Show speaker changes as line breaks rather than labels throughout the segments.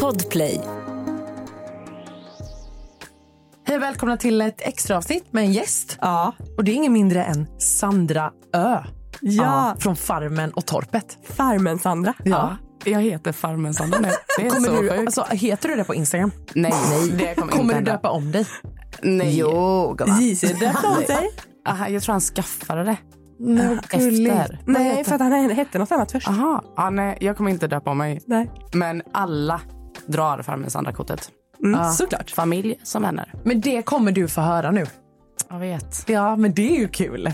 Podplay.
Hej och välkomna till ett extra avsnitt med en gäst.
Ja.
Och det är ingen mindre än Sandra Ö.
Ja.
Från Farmen och Torpet.
Farmen Sandra.
Ja.
Jag heter Farmen Sandra nu. Det är
Kommer
så
du,
sjukt.
alltså, heter du det på Instagram?
Nej, det kommer,
Kommer du
inte hända.
döpa om dig?
Nej, jo, gumman.
JC
Typ.
döpte om sig.
Aha, Jag tror han skaffade det.
Nej,
Efter.
Nej, för att han hette något annat först.
Aha. Ja, nej, jag kommer inte döpa om mig.
Nej.
Men alla drar Farmen Sandra-kortet.
Mm, Såklart.
Familj som vänner.
Men det kommer du få höra nu.
Jag vet.
Ja, men det är ju kul.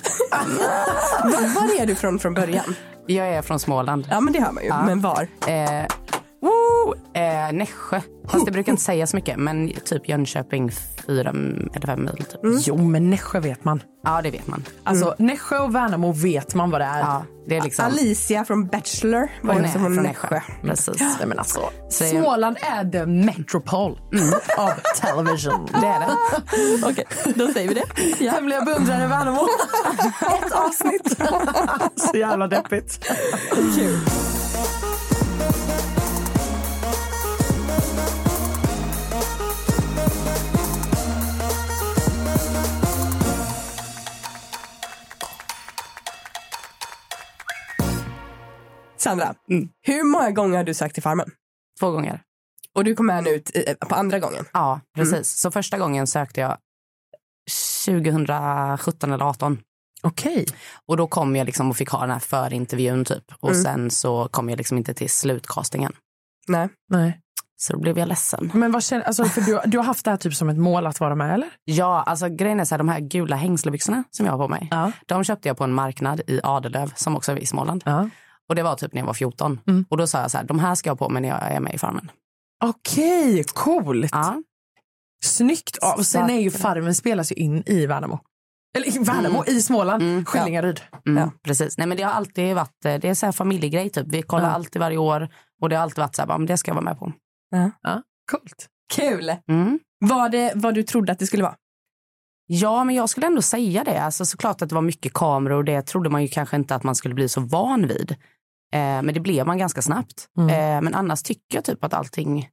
Var, var är du från från början?
Jag är från Småland.
Ja, men det hör man ju. Men var?
Eh, woo, eh, Nässjö. Fast det brukar inte säga så mycket. Men typ Jönköping, fyra eller fem mil typ.
Mm.
Jo, men Nässjö vet man.
Ja, det vet man.
Alltså, Nässjö och Värnamo vet man vad det är.
Ja, det är liksom...
Alicia från Bachelor var
Hon
ju
är
också från
från
Nässjö.
Precis.
Nej, men alltså,
Så det är-
Småland är the metropole of television.
Mm. Det är det.
Okej, då säger vi det. Ja.
Hemliga beundrare Värnamo.
Ett avsnitt.
Så jävla deppigt.
Sandra, hur många gånger har du sökt till Farmen?
Två gånger. Mm.
Och du kom med nu ut eh, på andra gången.
Ja, precis. Så första gången sökte jag 2017 eller 18.
Okej.
Och då kom jag liksom och fick ha den här förintervjun typ. Och sen så kom jag liksom inte till slutcastingen.
Nej.
Nej.
Så då blev jag ledsen.
Men vad känner, alltså, för du, du har haft det här typ som ett mål att vara med eller?
Ja, alltså grejen är så här, de här gula hängslebyxorna som jag har på mig.
Ja.
De köpte jag på en marknad i Adelöv som också är i Småland.
ja.
Och det var typ när jag var 14.
Mm.
Och då sa jag så här, de här ska jag ha på mig när jag är med i Farmen.
Okej, coolt.
Ja,
Snyggt. Ja, och sen är ju Farmen spelas ju in i Värnamo. Eller i Värnamo, i Småland.
Mm, ja.
Skällingaryd.
mm, precis. Nej men det har alltid varit, eh, det är så här familjegrej typ. Vi kollar
Ja.
alltid varje år. Och det har alltid varit så här, bara, men det ska jag vara med på.
Coolt.
Kul!
Mm.
Var det vad du trodde att det skulle vara?
Ja, men jag skulle ändå säga det. Alltså, såklart att det var mycket kameror och det trodde man ju kanske inte att man skulle bli så van vid. Eh, men det blev man ganska snabbt.
Mm.
Eh, men annars tycker jag typ att allting,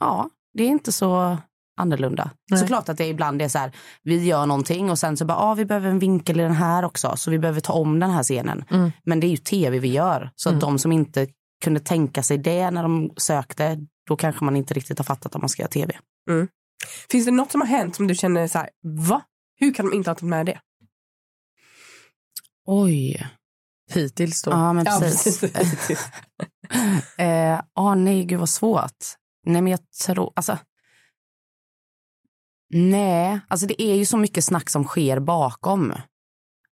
ja, det är inte så annorlunda.
Nej.
Såklart att det ibland är så här, vi gör någonting och sen så bara, ja, ah, vi behöver en vinkel i den här också, så vi behöver ta om den här scenen.
Mm.
Men det är ju tv vi gör, så att de som inte kunde tänka sig det när de sökte, då kanske man inte riktigt har fattat att man ska göra tv.
Finns det något som har hänt som du känner så här, va? Hur kan de inte ha tagit med det?
Oj.
Hittills då.
Ja, men precis. Eh, ah, nej, gud vad svårt. Nej, men jag tror, alltså. Nej, alltså det är ju så mycket snack som sker bakom.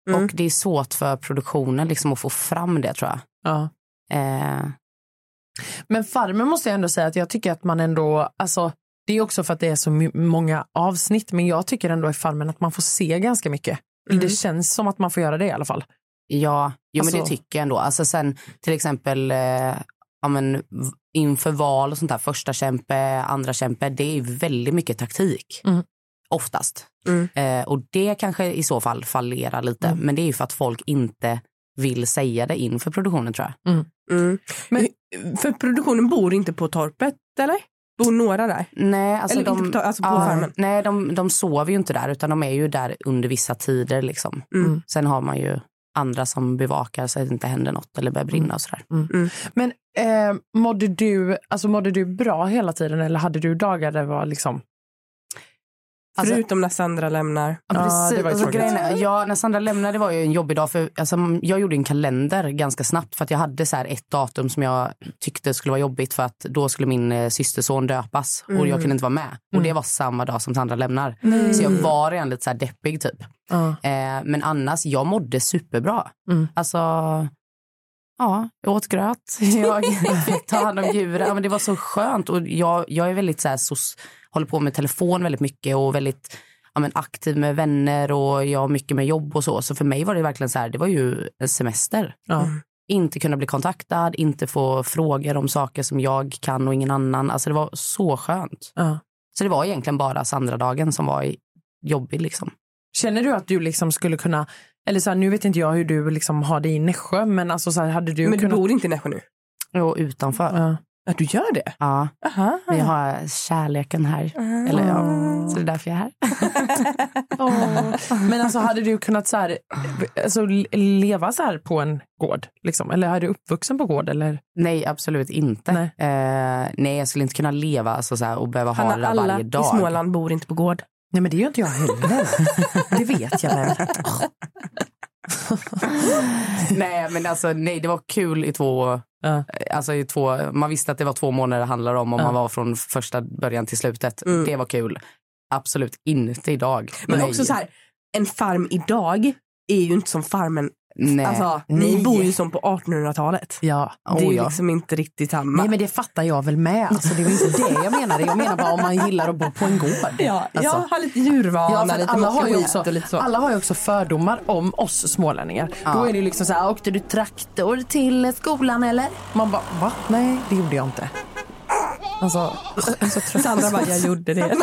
Mm.
Och det är svårt för produktionen liksom att få fram det tror jag.
Ja.
Eh,
Men Farmen måste jag ändå säga att jag tycker att man ändå, alltså det är också för att det är så my- många avsnitt, men jag tycker ändå i Farmen att man får se ganska mycket. Det känns som att man får göra det i alla fall.
ja, jo, men det
Alltså-
tycker jag ändå. Alltså sen till exempel eh, ja, men, v- inför val och sånt där, första kämpe, andra kämpe, det är ju väldigt mycket taktik.
Mm.
Oftast.
Mm.
Eh, och det kanske i så fall fallerar lite,
Mm.
men det är ju för att folk inte vill säga det inför produktionen tror jag.
Mm. Men, för produktionen bor inte på torpet, eller? Bor några där?
Nej, alltså
Eller
de,
inte på tor- alltså på farmen.
Nej, de, de sover ju inte där utan de är ju där under vissa tider liksom.
Mm.
Sen har man ju andra som bevakar så att det inte händer något eller börjar
Mm.
brinna och sådär.
Men eh, mådde, du, alltså, mådde du bra hela tiden eller hade du dagar där det var liksom...
Alltså-
Förutom när Sandra lämnar.
Ja,
precis.
det var ju
alltså,
tråkigt.
grejen är, ja, när Sandra lämnade det var ju en jobbig dag. För, alltså, jag gjorde en kalender ganska snabbt för att jag hade så här ett datum som jag tyckte skulle vara jobbigt för att då skulle min eh, systerson döpas och
Mm.
jag kunde inte vara med. Och det var samma dag som Sandra lämnar. Så jag var redan lite så här deppig typ.
Mm. Ja.
Eh, men annars, jag mådde superbra.
Mm.
Alltså, ja, jag åt gröt. Jag fick ta hand om djuren. Ja, men det var så skönt. Och jag, jag är väldigt så här, så, håller på med telefon väldigt mycket och väldigt ja, men aktiv med vänner och jag har mycket med jobb och så. Så för mig var det verkligen så här, det var ju en semester.
Ja.
Inte kunna bli kontaktad, inte få frågor om saker som jag kan och ingen annan. Alltså det var så skönt.
Ja.
Så det var egentligen bara Sandra-dagen som var i- jobbig liksom.
Känner du att du liksom skulle kunna, eller så här, nu vet inte jag hur du liksom har det i Nässjö, men alltså så här, hade du
Men du
kunnat...
bor inte i Nässjö nu?
Och utanför.
Ja.
Att du gör det?
Ja,
Aha.
vi har kärleken här.
Ah.
Eller, ja. Så det är därför jag är här.
Men alltså hade du kunnat så här, alltså, leva så här på en gård? Liksom? Eller är du uppvuxen på gård? Eller?
Nej, absolut inte.
Nej.
Nej, eh, nej jag skulle inte kunna leva alltså, så här, och behöva ha det
Hanna,
där
alla
varje
i
dag.
Småland bor inte på gård.
Nej men det gör inte jag heller. det vet jag väl.
nej, men alltså, nej, det var kul i två...
Ja.
Alltså i två, man visste att det var två månader det handlade om och man var från första början till slutet.
Mm.
Det var kul. Absolut inte idag.
Men
Nej.
också så här, en farm idag är ju inte som farmen.
Nej.
Alltså,
Nej.
ni bor ju som på 1800-talet.
Ja.
det är
oh,
ju
ja.
liksom inte riktigt samma.
Nej men det fattar jag väl med. Alltså, det var inte det jag menade. Jag menar bara om man gillar att bo på en gård.
Ja,
Alltså.
jag har lite djurvana,
Ja, för att
lite
alla, har ju
skit
också,
och lite så.
alla har ju också fördomar om oss smålänningar. Då är det ju liksom så här, åkte du traktor till skolan eller? Man bara, va? Nej, det gjorde jag inte. Alltså,
Sandra bara, jag gjorde det.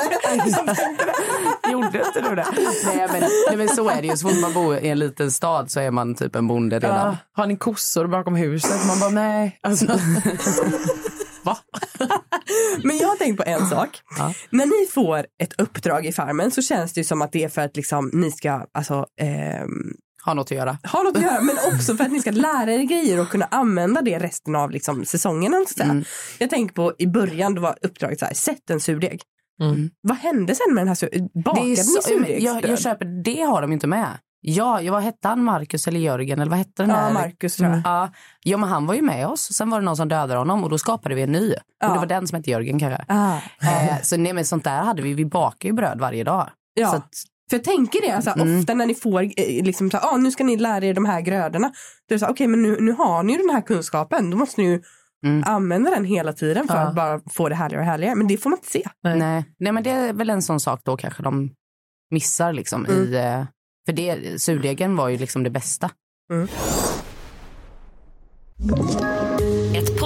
Gjorde inte du det? Nej men, nej, men så är det ju. Så fort man bor i en liten stad så är man typ en bonde redan.
ja, har ni kossor bakom huset? Man bara, nej. Alltså, va?
Men jag har tänkt på en sak. När ni får ett uppdrag i Farmen så känns det ju som att det är för att liksom, ni ska alltså, ehm,
Har något att göra.
ha något att göra men också för att ni ska lära er grejer och kunna använda det resten av liksom, säsongen. om man ska säga.
Mm.
Jag tänker på i början då var uppdraget så här, sätt en surdeg.
Mm.
Vad hände sen med den här surdegen? Bakade
Det
ni
är så,
surdegsbröd?
jag, jag köper, det har de ju inte med. Ja, jag, vad hette han? Marcus eller Jörgen? Eller vad hette den
Ja,
där?
Marcus tror jag.
Ja, ja, men han var ju med oss. Sen var det någon som dödade honom och då skapade vi en ny. Och
Ja.
det var den som hette Jörgen kanske.
Ah.
Eh, så nej, men sånt där hade vi. Vi bakar ju bröd varje dag.
Ja.
Så att,
För jag tänker det, alltså,
Mm.
ofta när ni får, eh, liksom, så, här, ah, nu ska ni lära er de här grödorna. Då är det så, här, okej men nu, nu har ni ju den här kunskapen, då måste ni ju
Mm.
använda den hela tiden för
Ja.
att bara få det härligare och härligare. Men det får man inte se.
Nej.
nej. nej, men det är väl en sån sak då kanske de missar liksom i... eh, För det, surdegen var ju liksom det bästa.
Ett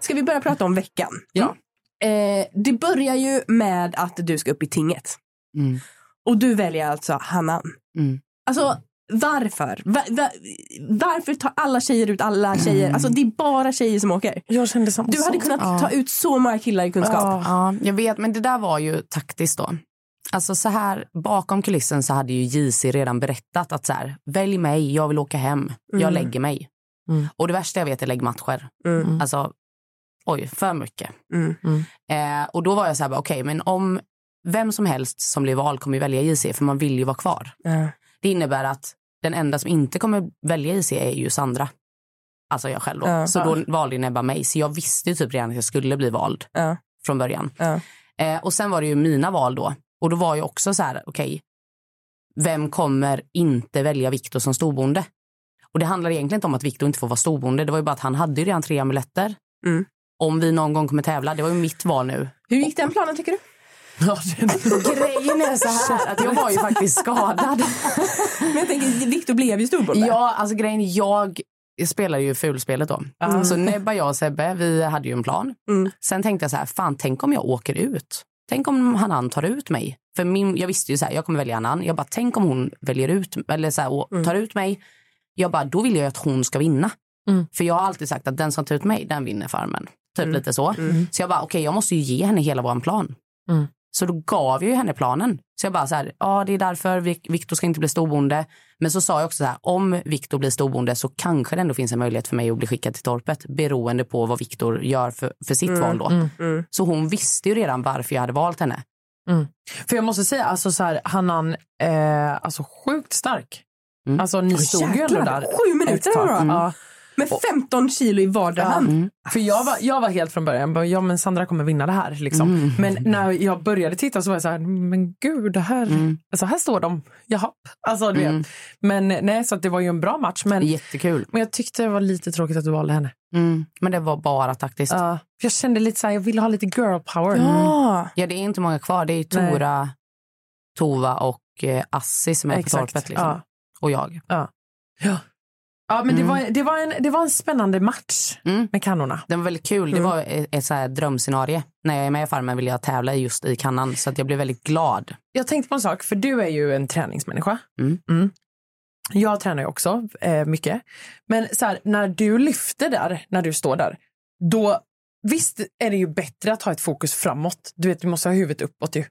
Ska vi börja prata om veckan?
Ja.
Eh, det börjar ju med att du ska upp i tinget.
Mm.
Och du väljer alltså Hannan.
Mm.
Alltså varför? Va- va- varför tar alla tjejer ut alla tjejer? Alltså det är bara tjejer som åker.
Jag kände samma
Du hade kunnat ta ut så många killar i kunskap.
Ja.
Ja, jag vet, men det där var ju taktiskt då. Alltså så här, bakom kulissen så hade ju JC redan berättat att så här, välj mig, jag vill åka hem, jag lägger mig.
Mm.
Och det värsta jag vet är läggmatcher.
Mm.
Alltså, oj, för mycket.
Mm.
Mm.
Eh, och då var jag så här, bara, okej, men om vem som helst som blir vald kommer ju välja JC, för man vill ju vara kvar.
Ja.
Det innebär att den enda som inte kommer välja JC är ju Sandra. Alltså jag själv då.
Ja.
så då valde ju Nebba mig. Så jag visste ju typ redan att jag skulle bli vald
Ja.
från början.
Ja.
Eh, och sen var det ju mina val då. Och då var jag också så här, okej, vem kommer inte välja Viktor som storbonde? Och det handlar egentligen inte om att Viktor inte får vara storbonde. Det var ju bara att han hade ju redan tre amuletter.
Mm.
Om vi någon gång kommer tävla, det var ju mitt val nu.
Hur gick den planen tycker du?
Grejen är så här att jag var ju faktiskt skadad.
Men jag tänker, Victor blev ju storbolle.
Ja, alltså grejen är, jag spelade ju fulspelet då. Mm. Så Nebba, jag och Sebbe, vi hade ju en plan.
Mm.
Sen tänkte jag så här, fan tänk om jag åker ut. Tänk om Hanan tar ut mig. För min, jag visste ju så här, jag kommer välja Hanan. Jag bara, tänk om hon väljer ut, eller så här, och
Mm.
tar ut mig. Jag bara, då vill jag ju att hon ska vinna.
Mm.
För jag har alltid sagt att den som tar ut mig, den vinner farmen. Typ lite så.
Mm.
Så jag bara, okej, jag måste ju ge henne hela våran plan.
Mm.
Så då gav jag ju henne planen. Så jag bara så här, ja det är därför Vik- Viktor ska inte bli storbonde. Men så sa jag också så här, om Viktor blir storbonde så kanske det ändå finns en möjlighet för mig att bli skickad till torpet beroende på vad Viktor gör för, för sitt val då.
mm,
mm.
Så hon visste ju redan varför jag hade valt henne.
För jag måste säga, alltså, så här, Hannan, eh, alltså sjukt stark.
Mm.
Alltså ni
Oj,
stod ju ändå
jäklar,
där.
sju minuter
ett tag.
var det.
Ja.
Med 15 kilo i vardera hand.
Mm.
För jag var, jag var helt från början, bara, ja men Sandra kommer vinna det här. Liksom.
Mm.
Men när jag började titta så var jag så här, men gud, det här,
Mm.
alltså, här står de. Jaha. Alltså, du vet. Men nej, så att det var ju en bra match. Men,
Jättekul.
men jag tyckte det var lite tråkigt att du valde henne.
Mm. Men det var bara taktiskt.
Ja. För jag kände lite så här, jag ville ha lite girl power. Mm.
Ja.
Ja, det är inte många kvar. Det är ju
Nej.
Tora, Tova och eh, Assi som är på
Exakt.
torpet. Liksom.
Ja.
Och jag.
Ja, men det, var, det, var en, det var en spännande match
Mm.
med kannorna.
Den var väldigt kul.
Mm.
Det var ett, ett så här drömscenarie. När jag är med i Farmen vill jag tävla just i kannan. Så att jag blev väldigt glad.
Jag tänkte på en sak, för du är ju en träningsmänniska.
Mm.
Jag tränar ju också eh, mycket. Men så här, när du lyfter där, när du står där, då visst är det ju bättre att ha ett fokus framåt. Du vet, du måste ha huvudet uppåt ju.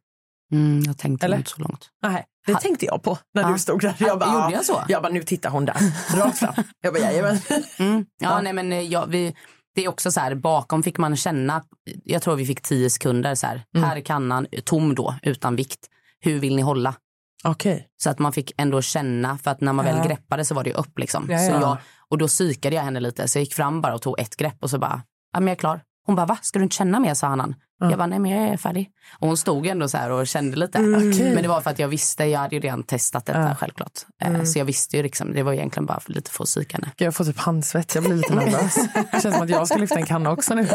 Mm, jag tänkte
Eller?
inte så långt.
Nej, det tänkte jag på när
Ah.
du stod där. Jag bara,
Gjorde
ah.
jag så?
Jag bara, nu tittar hon där, rakt fram. Jag bara, jajamän.
Mm. Ja, nej men eh, ja, vi, det är också så här, bakom fick man känna, jag tror vi fick tio sekunder så här,
Mm.
här är kannan tom då, utan vikt. Hur vill ni hålla?
Okej.
Så att man fick ändå känna, för att när man väl greppade så var det ju upp liksom.
Ja,
Så
ja.
jag, och då psykade jag henne lite, så jag gick fram bara och tog ett grepp och så bara, ja men jag är klar. Hon bara, va? Ska du inte känna mer? sa Hannan. Jag bara, nej men jag är färdig. Och hon stod ändå så här och kände lite.
Mm. Okej.
Men det var för att jag visste, jag hade ju redan testat detta självklart. Eh,
Mm.
Så jag visste ju liksom, det var egentligen bara för lite för att psyka henne.
Gud, Jag får typ handsvett, jag blir lite nervös. Det känns som att jag ska lyfta en kanna också nu.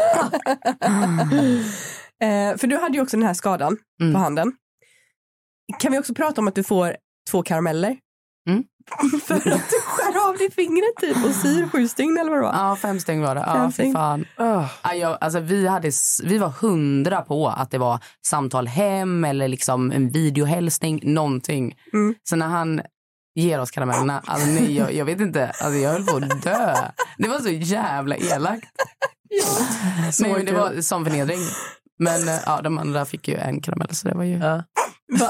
Eh, för du hade ju också den här skadan på handen. Kan vi också prata om att du får två karameller?
Mm.
för att du skär av dig fingret typ och syr sju stygn eller vad det var.
Ja, fem stygn var det. Ja,
Fem
fy
stygn.
fan.
Ah.
Ja, jag, alltså, vi, hade, s- vi var hundra på att det var samtal hem eller liksom en videohälsning, någonting.
Mm.
Så när han ger oss karamellerna, alltså, nej, jag, jag vet inte, alltså, jag höll på att dö. Det var så jävla elakt. nej, men det var som förnedring. Men eh, ja, de andra fick ju en karamell så det var ju...
Ja.
Va?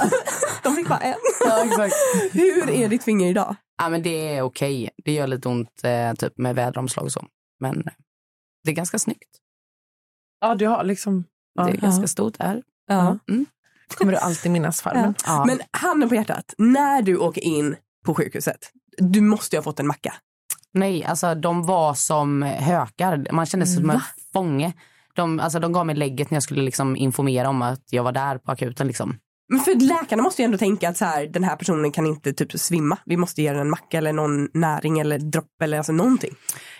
De fick bara en.
Ja, exakt.
Hur är ditt finger idag?
Ja, men det är okej. Det gör lite ont eh, typ med väderomslag och så. Men eh, det är ganska snyggt.
Ja, du har liksom... Ja.
Det är ganska stort här.
Ja.
Mm.
Kommer du alltid minnas farmen?
Ja.
Men handen på hjärtat, när du åker in på sjukhuset, du måste ju ha fått en macka.
Nej, alltså de var som hökar. Man kände sig som en fånge. De, alltså, de gav mig lägget när jag skulle liksom informera om att jag var där på akuten. Liksom.
Men för läkarna måste ju ändå tänka att så här, den här personen kan inte typ svimma. Vi måste ge den en macka eller någon näring eller dropp eller alltså någonting.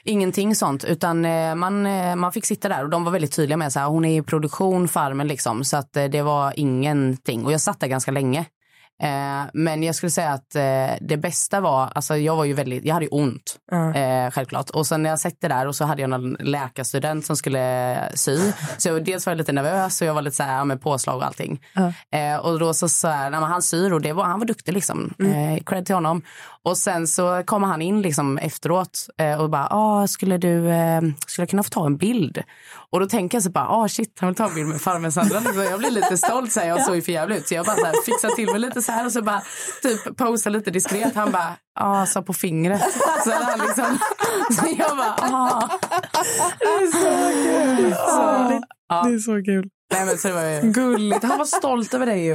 Ingenting sånt, utan eh, man, eh, man fick sitta där och de var väldigt tydliga med att hon är i produktion, farmen liksom. Så att eh, det var ingenting. Och jag satt där ganska länge. Eh, men jag skulle säga att eh, det bästa var, alltså jag var ju väldigt, jag hade ju ont. Eh, självklart. Och sen när jag satt där och så hade jag någon läkarstudent som skulle sy. Så jag, dels var jag lite nervös och jag var lite så här ja, med påslag och allting. Eh, och då så sa jag, nej, men han syr och det var, han var duktig liksom. Eh, cred till honom. Och sen så kom han in liksom efteråt eh, och bara, ah, skulle du, eh, skulle jag kunna få ta en bild? Och då tänker jag så bara, ah shit, han vill ta en bild med farmen Sandra. Liksom. Jag blev lite stolt, så här, jag såg ju för jävligt ut. Så jag bara så här, fixade till mig lite så här och så bara typ posade lite diskret. Han bara, ah,
alltså
sa på fingret. Så, hade han liksom, så jag bara, ah.
Så, Det är så kul.
Nej, men så det var ju...
Ah. Gulligt. Han var stolt över dig ju.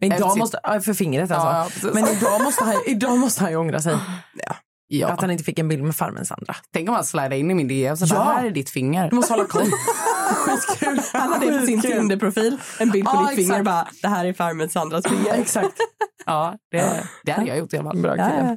Men
precis.
idag måste, ja, för fingret alltså.
Ja, ja, precis.
men idag måste, han, idag måste han ju ångra sig.
Ja.
Att han inte fick en bild med farmen Sandra.
Tänk om han slidar in i min DM så bara,
Ja.
här är ditt finger.
Du måste hålla koll.
Han hade på sin
Skitkul.
Tinder-profil en bild på
Ja,
ditt finger
exakt.
bara det här är farmen Sandras finger.
Exakt.
Ja, det, det hade jag gjort i alla fall.
Bra kille.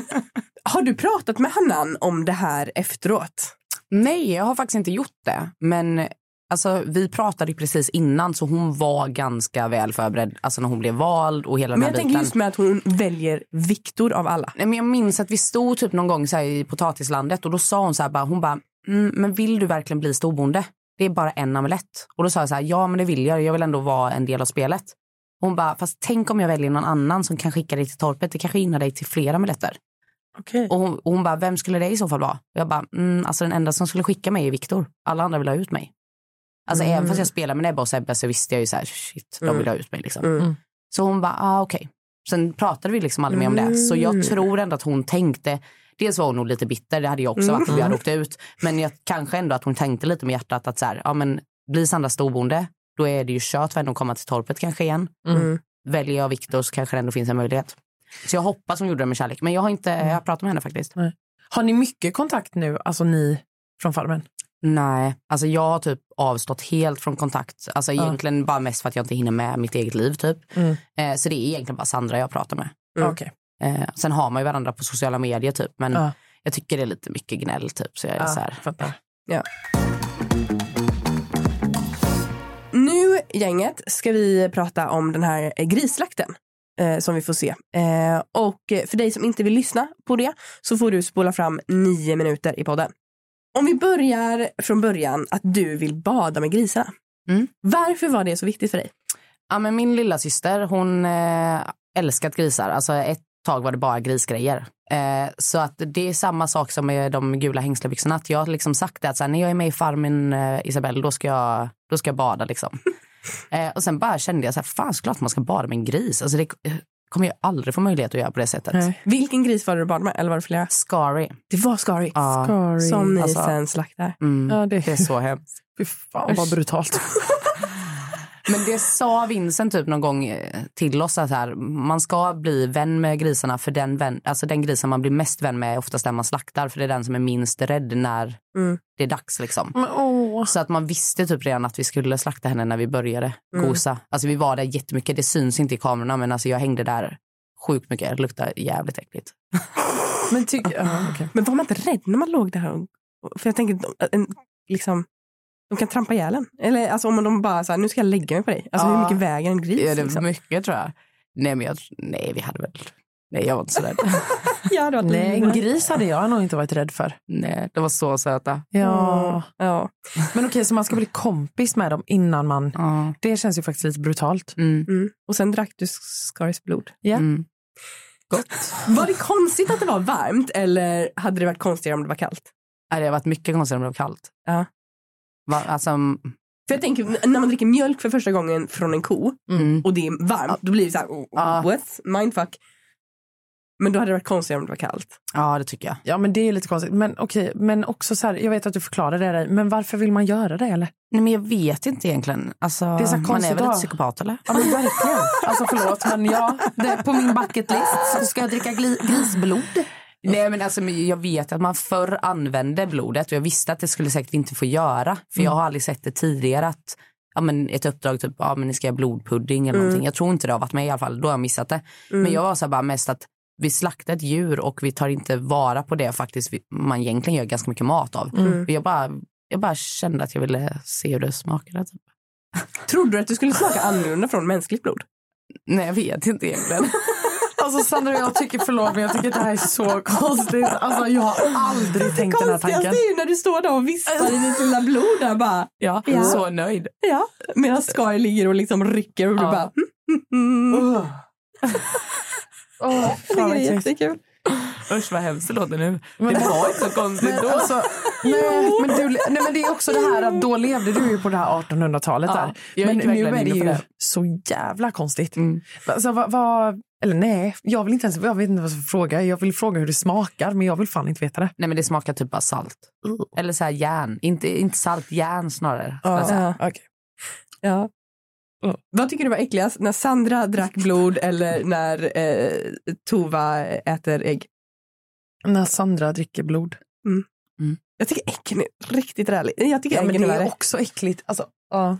Har du pratat med Hannan om det här efteråt?
Nej, jag har faktiskt inte gjort det. Men alltså, vi pratade ju precis innan så hon var ganska väl förberedd alltså, när hon blev vald och hela
Men
den
jag
här
tänker
biten.
just med att hon väljer Viktor av alla.
Nej, men jag minns att vi stod typ någon gång så här i potatislandet och då sa hon så här bara, hon bara, mm, men vill du verkligen bli storbonde? Det är bara en amulett. Och då sa jag så här, ja men det vill jag, jag vill ändå vara en del av spelet. Hon bara, fast tänk om jag väljer någon annan som kan skicka dig till torpet, det kanske hinner dig till flera amuletter.
Okej.
Och hon, och hon bara, vem skulle det i så fall vara? Och jag bara, mm, alltså den enda som skulle skicka mig är Viktor. Alla andra vill ha ut mig. Alltså även
Mm.
fast jag spelar med Nebbe och Sebbe så visste jag ju så här, shit, de vill ha ut mig liksom.
Mm.
Så hon bara, ah, okej. Sen pratade vi liksom aldrig mer om
Mm.
det. Så jag tror ändå att hon tänkte, dels var hon nog lite bitter, det hade jag också varit om
Mm.
jag hade åkt ut. Men jag, kanske ändå att hon tänkte lite med hjärtat att så här, ja men blir Sandra storbonde, då är det ju kört för henne att komma till torpet kanske igen.
Mm.
Väljer jag Mm. Viktor så kanske det ändå finns en möjlighet. Så jag hoppas hon gjorde det med kärlek. Men jag har inte, jag har pratat med henne faktiskt.
Har ni mycket kontakt nu, alltså ni från Farmen?
Nej, alltså jag har typ avstått helt från kontakt. Alltså egentligen bara mest för att jag inte hinner med mitt eget liv typ.
Mm.
Eh, så det är egentligen bara Sandra jag pratar med.
Mm. Okej.
Eh, sen har man ju varandra på sociala medier typ. Men
Ja.
jag tycker det är lite mycket gnäll typ. Så jag är så här.
fattar.
Nu gänget ska vi prata om den här eh, grisslakten eh, som vi får se. Eh, och eh, för dig som inte vill lyssna på det så får du spola fram nio minuter i podden. Om vi börjar från början att du vill bada med grisarna.
Mm.
Varför var det så viktigt för dig?
Ja, men min lilla syster hon eh, älskat grisar. Alltså ett tag var det bara grisgrejer. Eh, så att det är samma sak som med de gula hängslebyxorna. Att jag har liksom sagt det att så här, när jag är med i Farmen eh, Isabelle då ska jag, då ska jag bada liksom. eh, och sen bara kände jag så här, fan såklart man ska bada med en gris. Alltså det eh, kommer jag aldrig få möjlighet att göra på det sättet.
Nej.
Vilken gris var det du bad med? Eller var det flera?
Scary.
Det var Scary.
Ja.
Sorry.
Som ni
Alltså-
sen slaktar.
Mm.
Ja, det,
Det är så hemskt.
fy fan vad brutalt.
Men det sa Vincent typ någon gång eh, till oss att här, man ska bli vän med grisarna för den, vän, alltså den grisen man blir mest vän med är oftast den man slaktar för det är den som är minst rädd när
Mm.
det är dags liksom.
Men, åh.
Så att man visste typ redan att vi skulle slakta henne när vi började
Mm.
gosa. Alltså vi var där jättemycket, det syns inte i kamerorna men alltså jag hängde där sjukt mycket, det luktade jävligt äckligt.
Men tyck, ja, okej.
Men var man inte rädd när man låg där? och- och- För jag tänker, de- en, liksom, de kan trampa ihjäl en. Eller alltså, om de bara så här, nu ska jag lägga mig på dig. Alltså
Ja.
hur mycket väger en gris?
Är det
liksom?
mycket tror jag? Nej men jag, nej vi hade väl, nej jag var inte så rädd.
Ja, det var typ-
Nej, en gris hade jag nog inte varit rädd för.
nej, de var så söta.
Ja.
Ja.
Men okej, så man ska bli kompis med dem innan man...
Ja.
Det känns ju faktiskt lite brutalt.
Mm.
Mm. Och sen drack du Scaris blod.
Ja.
Mm.
Var det konstigt att det var varmt eller hade det varit konstigare om det var kallt?
Nej, det har varit mycket konstigt om det blev kallt.
Ja.
Va, alltså, mm,
För jag tänker, n- när man dricker mjölk för första gången från en ko
mm.
och det är varmt, då blir det så här, oh,
Ja.
what? Mindfuck. Men då hade det varit konstigare om det var kallt.
Ja, det tycker jag.
Ja, men det är ju lite konstigt. Men okej, men också så här, jag vet att du förklarade det där, men varför vill man göra det eller?
Nej, men jag vet inte egentligen. Alltså,
är så
man
konstigt
är väl
att
ett
ha-
psykopat eller?
Ja, men verkligen. Alltså förlåt, men ja.
Det, på min bucket list så ska jag dricka grisblod. Nej men alltså men jag vet att man förr använde blodet och jag visste att det skulle säkert inte få göra. För jag har aldrig sett det tidigare att ja, men ett uppdrag typ, ja men ni ska göra blodpudding eller någonting. Jag tror inte det har varit med i alla fall, då har jag missat det. Men jag var så här bara mest att vi slaktar ett djur och vi tar inte vara på det faktiskt vi- man egentligen gör ganska mycket mat av. Och jag, bara, jag bara kände att jag ville se hur det smakade. Typ.
Trodde du att du skulle smaka annorlunda från mänskligt blod?
Nej jag vet inte egentligen.
Alltså Sandra, jag tycker förlåt, men jag tycker att det här är så konstigt. Alltså jag har aldrig tänkt den här tanken.
är ju när du står där och vispar i ditt lilla blod där bara.
Ja,
Ja.
Så nöjd.
Ja, medan Scar ligger och liksom rycker och du
Ja.
bara. Mm, mm, mm.
Åh, Åh, fan, vad
Jag tycker det är
äckligt.
jättekul.
Usch vad hemskt det låter nu.
Men-
det var inte så konstigt
Men,
då.
alltså, nej, men, du, nej, men det är också det här att då levde du ju på det här 1800-talet
Ja,
där.
jag
Men
gick
nu
verkligen
är det
in på
ju
det.
så jävla konstigt.
Mm.
Alltså, vad, vad, eller nej, jag vill inte ens, jag vet inte vad jag ska fråga. Jag vill fråga hur det smakar, men jag vill fan inte veta det.
Nej men det smakar typ bara salt. Eller så här järn. Inte, inte salt, järn snarare. skulle jag säga.
Ja.
Okej. Mm.
Ja. Vad tycker du var äckligast? När Sandra drack blod eller när eh, Tova äter ägg? Mm.
När Sandra dricker blod. Mm.
Jag tycker äggen är riktigt rälig. Jag tycker
Ja, men
äggen
det
är
är
värre.
också äckligt. Alltså, ja.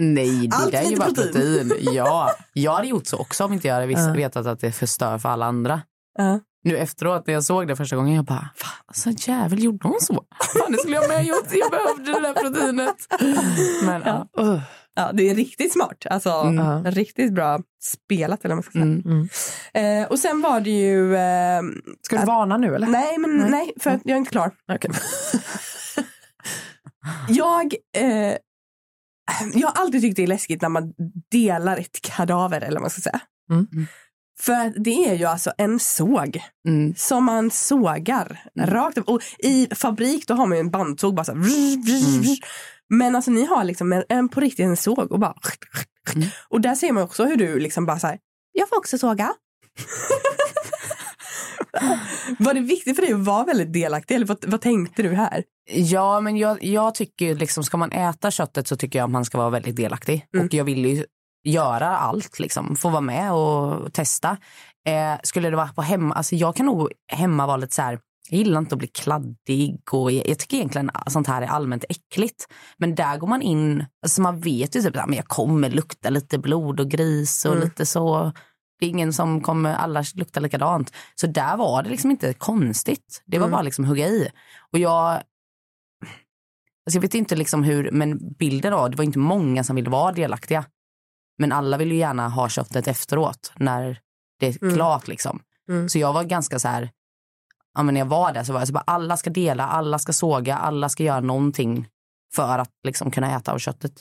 Nej det
Allt
där är ju
lite
bara
protein.
protein. Ja. Jag hade gjort så också om inte jag hade visst,
Ja.
vetat att det förstör för alla andra.
Ja.
Nu efteråt när jag såg det första gången jag bara, fan alltså jävel gjorde hon så? Fan det skulle jag med ha gjort. Jag behövde det där proteinet. Men ja.
Ugh.
Ja, det är riktigt smart. Alltså,
Mm.
Riktigt bra spelat eller vad man ska säga.
Mm.
Eh, och sen var det ju... Eh,
Ska du varna nu eller?
nej, men nej, för att jag är inte klar.
Okej.
Jag, eh, jag har alltid tyckt det är läskigt när man delar ett kadaver eller vad man ska säga.
Mm.
För att det är ju alltså en såg
Mm.
som man sågar
Mm.
rakt upp. Och i fabrik då har man ju en bandsåg bara så här, vrr,
Mm.
vrr, vrr. Men alltså ni har liksom en, en på riktigt en såg och bara
Mm.
och där ser man också hur du liksom bara så här, jag får också såga. var det viktigt för dig att vara väldigt delaktig eller vad, vad tänkte du här?
Ja, men jag, jag tycker ju liksom, ska man äta köttet så tycker jag att man ska vara väldigt delaktig.
Mm.
Och jag vill ju göra allt, liksom. få vara med och testa. Eh, skulle det vara på hemma, alltså jag kan nog hemma vara lite så här, Jag gillar inte att bli kladdig och jag, jag tycker egentligen att sånt här är allmänt äckligt. Men där går man in, alltså man vet ju typ att jag kommer lukta lite blod och gris och
Mm.
lite så. Det är ingen som kommer, alla luktar likadant. Så där var det liksom inte konstigt. Det var
Mm.
bara liksom hugga i. Och jag, Alltså jag vet inte liksom hur, men bilden av, det var inte många som ville vara delaktiga. Men alla vill ju gärna ha köttet efteråt när det är
Mm.
klart liksom.
Mm.
Så jag var ganska så här, ja men när jag var där så var jag så bara alla ska dela, alla ska såga, alla ska göra någonting för att liksom kunna äta av köttet.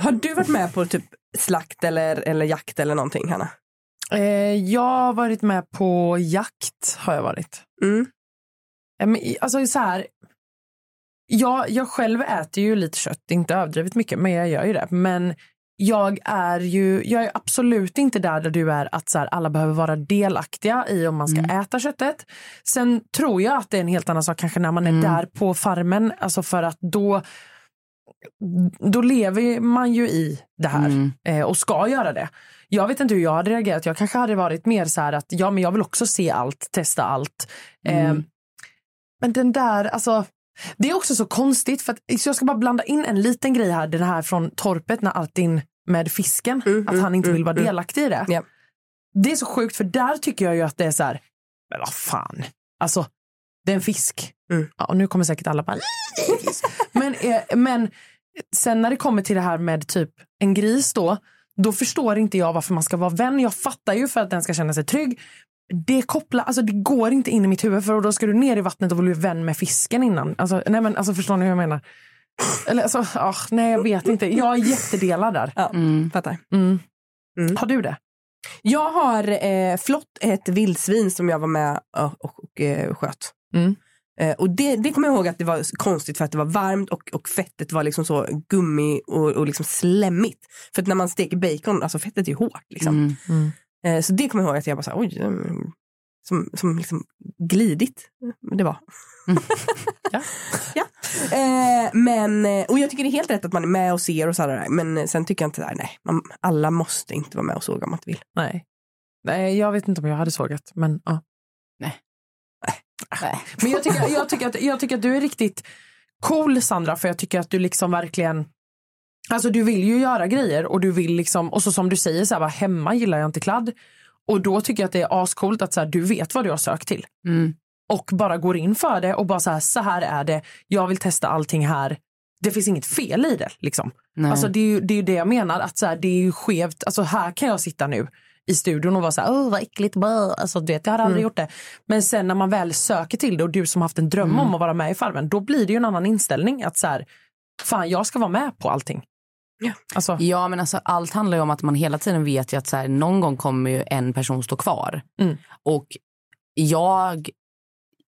Har du varit med på typ slakt eller, eller jakt eller någonting Hanna?
Eh, jag har varit med på jakt. har jag varit.
Mm.
Eh, men i- Alltså så här, jag, jag själv äter ju lite kött, inte överdrivet mycket, men jag gör ju det. Men jag är ju jag är absolut inte där där du är att så här, alla behöver vara delaktiga i om man ska äta köttet. Sen tror jag att det är en helt annan sak kanske när man är där på farmen, alltså för att då då lever man ju i det här
Mm.
eh, och ska göra det. Jag vet inte hur jag hade reagerat. Jag kanske hade varit mer så här att ja, men jag vill också se allt, testa allt.
Mm.
Eh, men den där, alltså. Det är också så konstigt för att så jag ska bara blanda in en liten grej här. Den här från torpet när allt in med fisken.
Mm,
att han inte
mm,
vill vara
mm,
delaktig i det.
Ja.
Det är så sjukt för där tycker jag ju att det är så här. Men vad fan. Alltså, det är en fisk.
Mm.
Ja, och nu kommer säkert alla bara. men, eh, men sen när det kommer till det här med typ en gris då. Då förstår inte jag varför man ska vara vän. Jag fattar ju för att den ska känna sig trygg. Det kopplar, alltså det går inte in i mitt huvud för då ska du ner i vattnet och bli vän med fisken innan. Alltså, nej men alltså förstår ni hur jag menar? Eller alltså, ah, nej jag vet inte. Jag är jättedelad där.
Ja, fattar.
Mm.
Mm.
Har du det?
Jag har eh, flott ett vildsvin som jag var med och, och, och eh, sköt.
Mm.
Eh, och det, det kommer jag ihåg att det var s- konstigt för att det var varmt och, och fettet var liksom så gummi och, och liksom slemmigt. För att när man steker bacon, alltså fettet är ju hårt liksom.
Mm.
Eh, så det kommer jag ihåg att jag bara så här, oj, mm, som, som liksom glidit det var.
Mm. Ja.
ja. Eh, men, eh, och jag tycker det är helt rätt att man är med och ser och sådär. Men eh, sen tycker jag inte det här, nej, man, alla måste inte vara med och såga om man inte vill.
Nej. nej. Jag vet inte om jag hade sågat. Men, ja. Ah.
Nej.
men jag, tycker, jag, tycker att, jag tycker att du är riktigt cool Sandra. För jag tycker att du liksom verkligen Alltså du vill ju göra grejer och du vill liksom och så som du säger så här, bara, hemma gillar jag inte kladd. Och då tycker jag att det är ascoolt att så här, du vet vad du har sökt till.
Mm.
och bara går in för det och bara så här, så här är det, jag vill testa allting här. Det finns inget fel i det. Liksom.
Nej.
Alltså, det, är ju, det är ju det jag menar, att så här, det är ju skevt. Alltså, här kan jag sitta nu i studion och vara så här, Åh, vad äckligt, blah." alltså, du vet, jag har aldrig
Mm.
gjort det. Men sen när man väl söker till det och du som haft en dröm
Mm.
om att vara med i Farmen, då blir det ju en annan inställning. Att så här, fan jag ska vara med på allting.
Ja.
Alltså,
Ja men alltså allt handlar ju om att man hela tiden vet ju att så här, någon gång kommer ju en person stå kvar.
Mm.
Och jag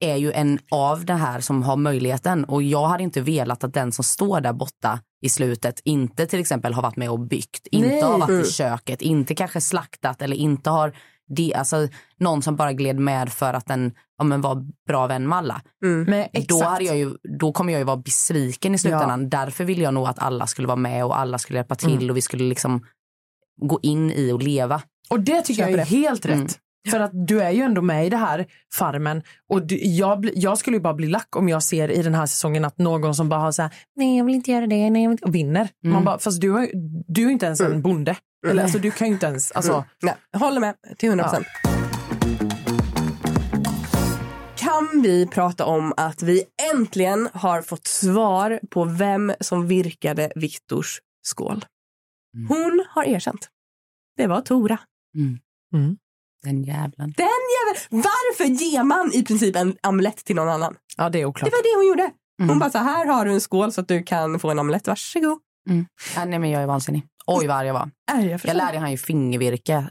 är ju en av det här som har möjligheten och jag hade inte velat att den som står där borta i slutet inte till exempel har varit med och byggt,
Nej.
inte har varit
Mm.
i köket, inte kanske slaktat eller inte har det, alltså någon som bara gled med för att den ja, men var bra vän med alla.
men, exakt.
Då, hade jag ju, då kommer jag ju vara besviken i slutändan. Därför vill jag nog att alla skulle vara med och alla skulle hjälpa till
Mm.
och vi skulle liksom gå in i och leva.
Och det tycker jag är
Köper
helt rätt.
Mm.
För att du är ju ändå med i det här farmen och du, jag, bli, jag skulle ju bara bli lack om jag ser i den här säsongen att någon som bara har så här, nej jag vill inte göra det, nej jag vill inte, och vinner.
Mm.
Man bara, fast du, har ju- du är ju inte ens en bonde. Eller alltså du kan ju inte ens, alltså,
Mm. Nej, håller med till 100 procent. Kan vi prata om att vi äntligen har fått svar på vem som virkade Viktors skål? Hon har erkänt. Det var Tora.
Den jävlen.
Den jäveln! Varför ger man i princip en amulett till någon annan?
ja det är
Det
oklart.
var det hon gjorde. Hon
Mm.
bara så här har du en skål så att du kan få en amulett. Varsågod.
Ja, nej men jag är vansinnig. Oj vad arg jag var.
Är jag
Jag
förstådd?
lärde han ju fingervirke.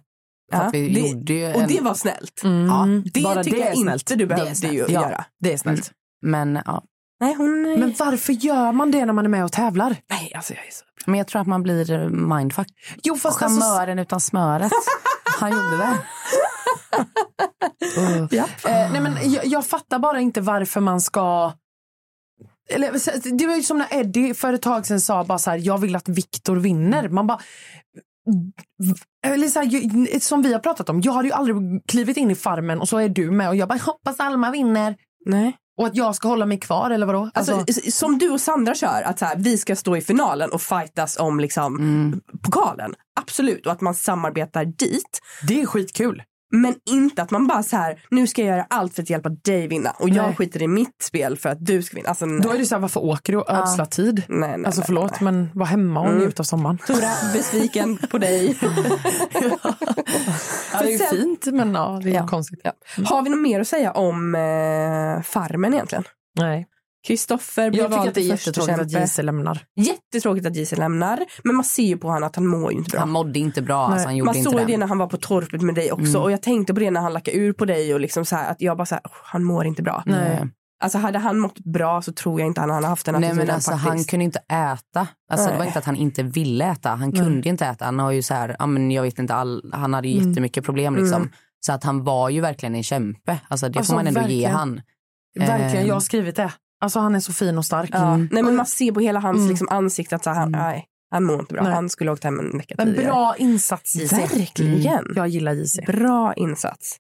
För
Ja,
att vi
det-
gjorde ju
Och
en,
det var snällt.
Mm.
Det
Bara
tycker jag
är
inte
snällt.
du
är
behövde ju
snällt. Ja.
göra. Mm.
Det är snällt.
Men, ja.
Nej, hon...
Men varför gör man det när man är med och tävlar?
Nej, alltså jag är så...
men jag tror att man blir eh, mindfuck.
Jo fast alltså,
Chamören utan smöret. han gjorde det.
eh, nej, men jag, jag fattar bara inte varför man ska Eller, så- det var ju som när Eddie för ett tag sedan sa bara så här, jag vill att Viktor vinner. Man bara, eller så här, ju- som vi har pratat om, jag hade ju aldrig klivit in i Farmen och så är du med och jag bara hoppas Alma vinner
Nej.
och att jag ska hålla mig kvar eller vadå?
Alltså, s- som du och Sandra kör, att så här, vi ska stå i finalen och fightas om liksom,
Mm.
pokalen. Absolut, och att man samarbetar dit.
det är skitkul.
Men inte att man bara så här, nu ska jag göra allt för att hjälpa dig vinna och jag
Nej.
skiter i mitt spel för att du ska vinna. Alltså, nej.
Då är det så här, varför åker du och ödslar tid?
Nej, nej,
alltså
nej,
förlåt, men var hemma och njut av sommaren.
Tora, besviken på dig.
Ja, det är ju
sen-
fint, men ja, det är
Ja.
konstigt.
ja. Har vi något mer att säga om eh, Farmen egentligen?
Nej.
Kristoffer blir
Jag tycker
vald
att det är
till
jättetråkigt att
förstekämpe.
JC lämnar.
Jättetråkigt att Gisel lämnar. Men man ser ju på honom att han mår ju inte bra.
Han mådde inte bra. Alltså, han gjorde
Man
inte
såg ju det
den. Mm.
när han var på torpet med dig också och jag tänkte på det när han lackade ur på dig och liksom så här, att jag bara så här, "Oh, han mår inte bra.
Nej.
Alltså hade han mått bra så tror jag inte han hade haft den
Nej
attityden
men alltså han
faktiskt.
kunde inte äta. Alltså, det var
Nej.
inte att han inte ville äta. Han kunde ju inte äta. Han har ju så här, ja, men jag vet inte, all, han hade ju jättemycket problem liksom. Så att han var ju verkligen en kämpe. Alltså det
Alltså,
får man ändå ge
verkligen.
han.
Verkligen,
Ehm.
jag har skrivit det. Alltså han är så fin och stark.
ja. Mm.
Mm.
Nej men man ser på hela hans
Mm.
liksom, ansikte att så här, han, nej, han mår inte bra.
Nej.
Han skulle ha åkt hem en vecka
Men
tidigare.
bra insats JC.
Typ. Verkligen.
Jag gillar JC.
Bra insats.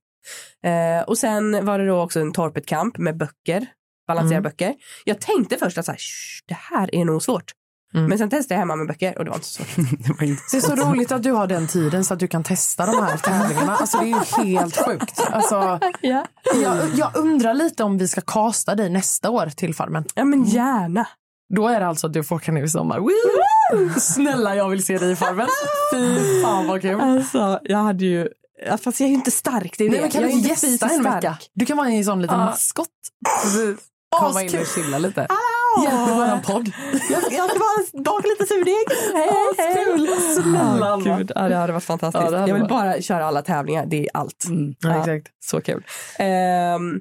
Eh, och sen var det då också en torpetkamp med böcker. Balansera
Mm.
böcker. Jag tänkte först att så här, "Shh, det här är nog svårt.
Mm.
Men sen testade jag hemma med böcker och det var inte så svårt.
det var inte
Det är så roligt att du har den tiden så att du kan testa de här tävlingarna. Alltså det är ju helt sjukt. Alltså,
ja.
jag, jag undrar lite om vi ska kasta dig nästa år till Farmen.
ja men gärna.
Då är det alltså att du får åka nu i sommar. Woo! Snälla jag vill se dig i Farmen. Fy fan vad kul.
Alltså jag hade ju, ja, fast jag är ju inte stark. Det är ju
Nej,
det.
men kan
jag
du
är ju
inte gästa
fysiskt
en
stark.
vecka? Du kan vara en sån liten
Ja.
maskot.
Komma in och chilla lite.
Hjälpa våran podd.
Jag, jag ska bara baka lite surdeg. Hej, hej.
Snälla
Ja, gud. Ja, det hade varit fantastiskt.
Ja, det hade
jag vill
varit- Mm.
bara köra alla tävlingar, det är allt.
Ja,
Ja.
exakt.
Så kul. Ehm,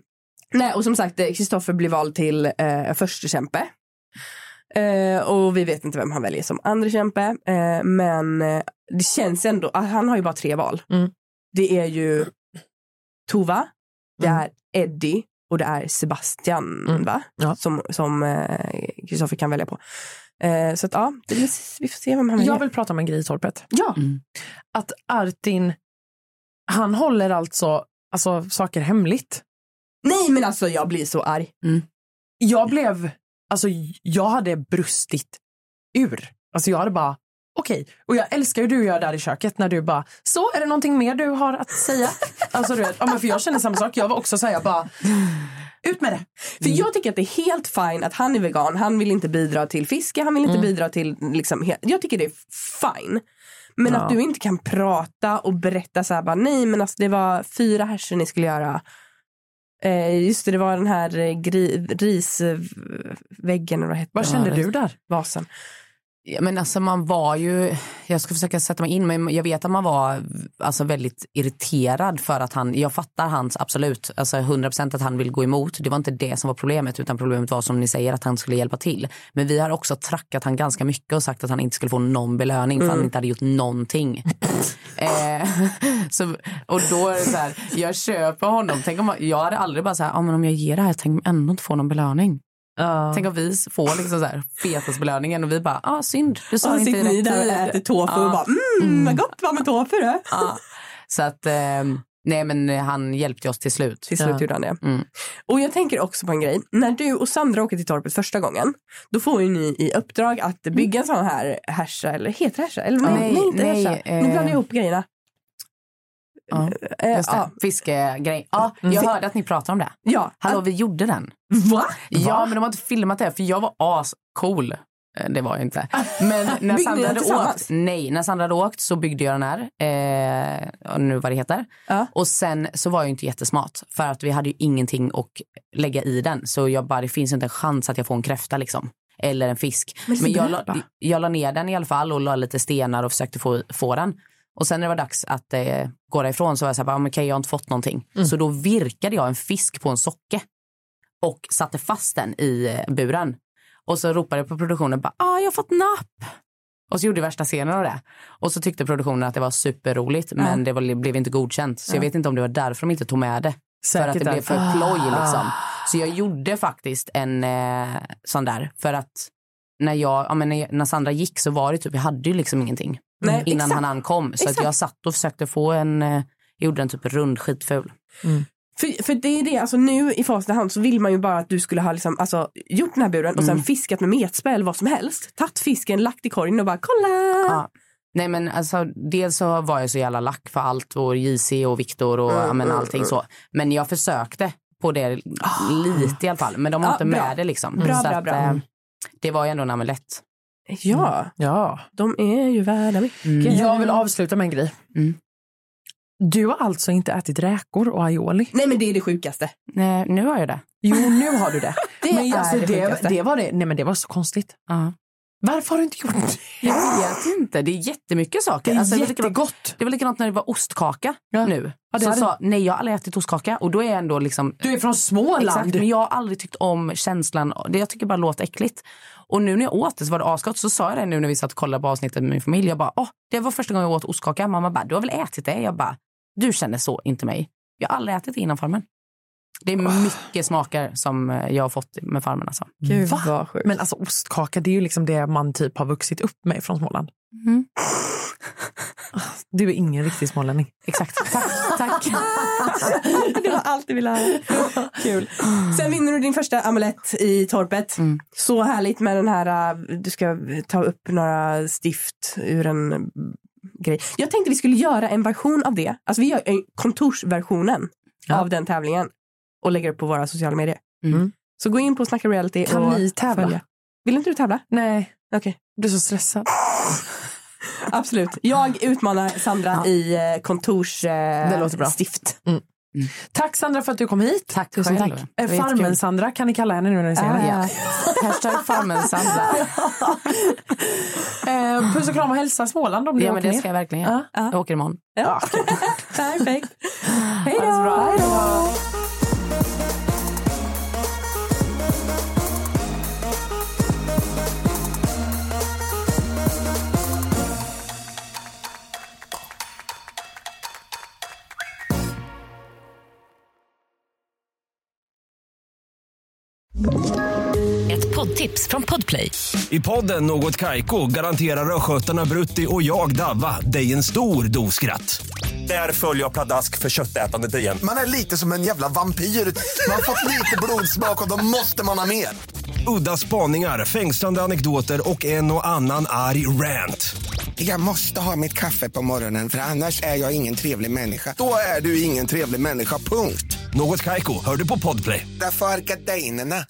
nej, och som sagt, eh, Kristoffer blir vald till uh, förstekämpe. Eh, och vi vet inte vem han väljer som andra kämpe. Eh, men eh, det känns ändå, ah, han har ju bara tre val.
Mm.
Det är ju Tova, det
Mm.
är Eddie och det är Sebastian
Mm.
va?
Ja.
Som som, eh, Kristoffer kan välja på. Eh, så att ja, det blir, vi får se vem han väljer.
Jag vill prata om en grej i torpet.
Ja.
Mm.
Att Artin, han håller alltså, alltså saker hemligt.
Nej men alltså jag blir så arg.
Jag blev, alltså jag hade brustit ur. Alltså jag hade bara, okej. Och jag älskar ju du gör där i köket när du bara, så är det någonting mer du har att säga? Alltså du vet, ja, men för jag känner samma sak. Jag var också så här, jag bara, ut med det.
För jag tycker att det är helt fine att han är vegan. Han vill inte bidra till fiske. Han vill inte bidra till liksom. he- Jag tycker det är fine. Men att du inte kan prata och berätta så här bara nej men alltså det var fyra härsor ni skulle göra. Eh, just det, det var den här eh, gri- risväggen eller vad hette
Vad kände
Ja,
du där?
Vasen.
Ja, men alltså man var ju, jag ska försöka sätta mig in, men jag vet att man var alltså väldigt irriterad för att han, jag fattar hans absolut, alltså 100% att han vill gå emot. Det var inte det som var problemet, utan problemet var som ni säger att han skulle hjälpa till. Men vi har också trackat han ganska mycket och sagt att han inte skulle få någon belöning för han inte hade gjort någonting. eh, så, och då är det så här, jag köper honom. Tänk om, jag hade aldrig bara så här, ah, men om jag ger det här, tänk om jag ändå inte får någon belöning. Tänk om vi får liksom så här fetisbelöningen och vi bara, ah synd, du sa
Så
inte i
sitter ni
rätt
där och
tid.
äter tofu och bara typ. mm, vad gott var med tofu du.
Ja. Så att, eh, nej men han hjälpte oss till slut.
Till slut gjorde han det.
Mm.
Och jag tänker också på en grej. När du och Sandra åker till torpet första gången, då får ju ni i uppdrag att bygga en sån här härsa, eller heter det härsa? Eller nej,
Mm. Nej,
nej, inte
nej,
härsa.
eh,
Nu blandar jag ihop grejerna.
Ja,
Eh,
Just det,
ja,
fiskegrej. Ja, jag hörde att ni pratade om det.
Mm. ja.
Hallå, vi gjorde den.
Va?
Ja, men de har inte filmat det för jag var ascool. Eh, Det var jag inte. Men när
Ah. ni
Sandra
den
hade
tillsammans?
åkt, nej, när Sandra hade åkt så byggde jag den här, eh, ja, nu vad det heter.
Ja.
Och sen så var jag ju inte jättesmart för att vi hade ju ingenting att lägga i den. Så jag bara, det finns inte en chans att jag får en kräfta liksom. Eller en fisk. Men, jag, la, jag la ner den i alla fall och la lite stenar och försökte få, få den. Och sen när det var dags att eh, gå därifrån så var jag så här, bara, men okej jag har inte fått någonting. Så då virkade jag en fisk på en socke och satte fast den i eh, buren. Och så ropade jag på produktionen, bara, ah, jag har fått napp. Och så gjorde jag värsta scenen av det. Och så tyckte produktionen att det var superroligt men det var, blev inte godkänt. Så jag vet inte om det var därför de inte tog med det. för att det
Säkert
blev för ploj liksom.
Ah.
Så jag gjorde faktiskt en eh, sån där. För att när, jag, ja, men när, när Sandra gick så var det typ, jag hade ju liksom ingenting.
Nej,
innan
exakt.
han ankom. Så att
Exakt.
jag satt och försökte få en, eh, gjorde en typ rund skitful.
För, för det är det, alltså nu i facit i hand så vill man ju bara att du skulle ha liksom, alltså, gjort den här buren och
Mm.
sen fiskat med metspö eller vad som helst. Tagit fisken, lagt i korgen och bara kolla!
Ja. Nej men alltså dels så var jag så jävla lack för allt och JC och Viktor och ja, men, allting så. Men jag försökte på det lite i alla fall. Men de var
Ja,
inte
bra.
med det liksom.
Bra,
så
bra, bra.
eh, det var ju ändå en amulett.
Ja,
Ja.
de är ju värda mycket.
Jag vill avsluta med en grej.
Mm.
Du har alltså inte ätit räkor och aioli?
Nej men det är det sjukaste.
Nej, nu har jag det.
Jo, nu har du det.
Det
men,
är
alltså,
det
det,
sjukaste.
det, var det. Nej, men det var så konstigt.
Ja.
Varför har du inte gjort det?
Jag vet inte, det är jättemycket saker.
Det är
Alltså, det var likadant-
jättegott.
Det var likadant när det var ostkaka
Ja.
nu.
Ja, det
så
hade-
sa nej jag har aldrig ätit ostkaka och då är jag ändå liksom
Du är från Småland.
Exakt, men jag har aldrig tyckt om känslan. Det jag tycker bara låter äckligt. Och nu när jag åt det så var det asgott. Så sa jag det nu när vi satt och kollade på avsnittet med min familj. Jag bara, åh, det var första gången jag åt ostkaka. Mamma bara, du har väl ätit det? Jag bara, du känner så, inte mig. Jag har aldrig ätit det innan farmen. Det är mycket smaker som eh, jag har fått med farmen alltså.
Gud
Va?
vad sjukt.
Men alltså ostkaka, det är ju liksom det man typ har vuxit upp med från Småland.
Mm.
Du är ingen riktig smålänning.
Exakt, tack. tack.
det var allt du ville höra. Kul. Sen vinner du din första amulett i torpet.
Mm.
Så härligt med den här, äh, du ska ta upp några stift ur en äh, grej. Jag tänkte vi skulle göra en version av det. Alltså vi gör eh, kontorsversionen av den tävlingen och lägger upp på våra sociala medier.
Mm.
Så gå in på Snacka Reality
Kan
och
ni tävla?
följa. Vill inte du tävla?
Nej,
Okej,
jag blir så stressad.
absolut. Jag utmanar Sandra
Ja.
i eh, kontors eh,
Det låter bra.
stift.
Tack Sandra för att du kom hit.
Tack
Tusen
själv.
tack.
Det var
Eh,
jättekul.
Farmen-Sandra kan ni kalla henne nu när ni ser henne.
Ja. Hashtag farmen Sandra.
Eh, puss och kram och hälsa Småland om ni
Ja men
åker
det
ner.
ska jag verkligen göra.
Ja.
Jag åker imorgon.
Ja. Perfekt. Hej då!
Hej då.
Ett poddtips från Podplay.
I podden Något Kaiko garanterar östgötarna Brutti och jag, Davva, dig en stor dos skratt. Där följer jag pladask för köttätandet igen.
Man är lite som en jävla vampyr. Man har fått lite blodsmak och då måste man ha mer.
Udda spaningar, fängslande anekdoter och en och annan arg rant.
Jag måste ha mitt kaffe på morgonen för annars är jag ingen trevlig människa. Då är du ingen trevlig människa, punkt.
Något Kaiko, hör du på Podplay.
Därför arkadeinerna.